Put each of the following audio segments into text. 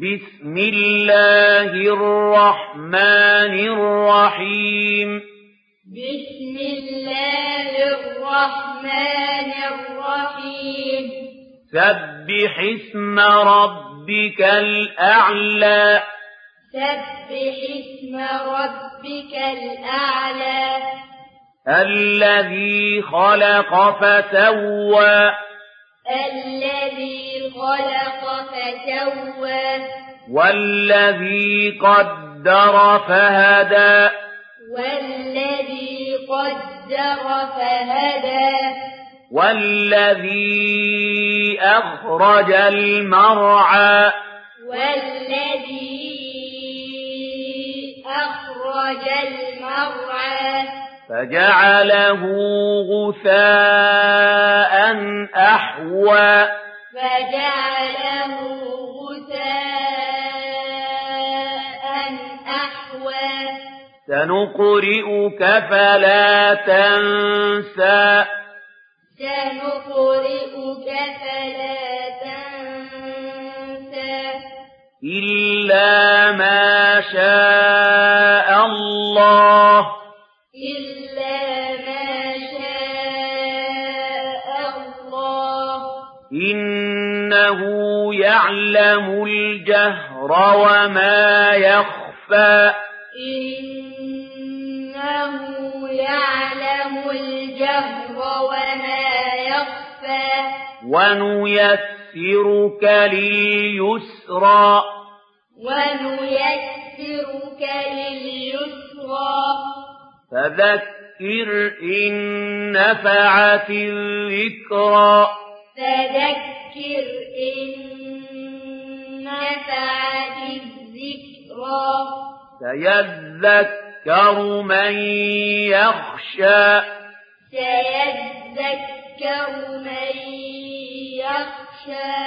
بسم الله الرحمن الرحيم بسم الله الرحمن الرحيم سبح اسم ربك الأعلى سبح اسم ربك الأعلى الذي خلق فسوى الذي خلق فسوى والذي قدر فهدى والذي قدر فهدى والذي أخرج المرعى والذي أخرج المرعى فجعله غثاء أحوى فجعله غثاء أحوى سنقرئك فلا تنسى سنقرئك فلا تنسى إلا ما شاء الله إلا ما شاء الله إنه يعلم الجهر وما يخفى إنه يعلم الجهر وما يخفى ونيسرك لليسرى ونيسرك لليسرى فذكر إن نفعت الذكرى فذكر إن نفعت الذكرى سيذكر من يخشى سيذكر من يخشى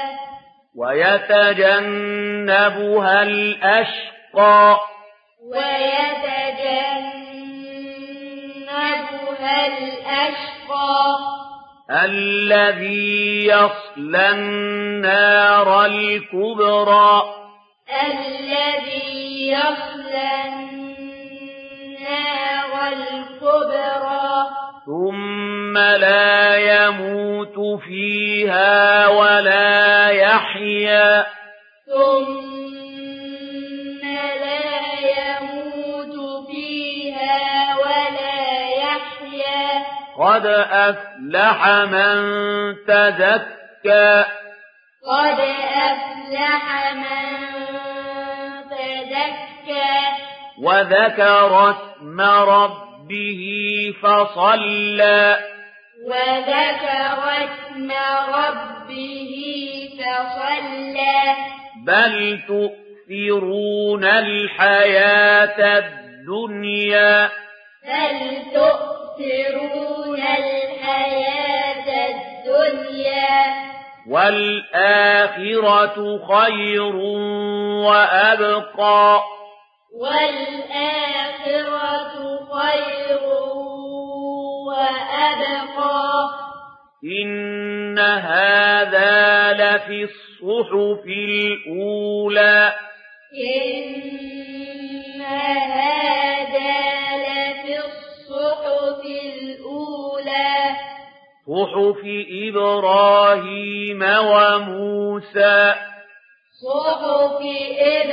ويتجنبها الأشقى ويتجنبها الأشقى الذي يصلى النار الكبرى الذي يصلى النار الكبرى ثم لا يموت فيها ولا يحيا ثم لا يموت فيها ولا يحيا قد أفلح من تزكى قد أفلح من تزكى وذكر اسم ربه فصلى وذكر اسم ربه فصلى بل تؤثرون الحياة الدنيا بل تؤثرون الحياة الدنيا والآخرة خير وأبقى والآخرة خير وأبقى إن هذا لفي الصحف الأولى إن هذا لفي الصحف الأولى صحف إبراهيم وموسى صحف إبراهيم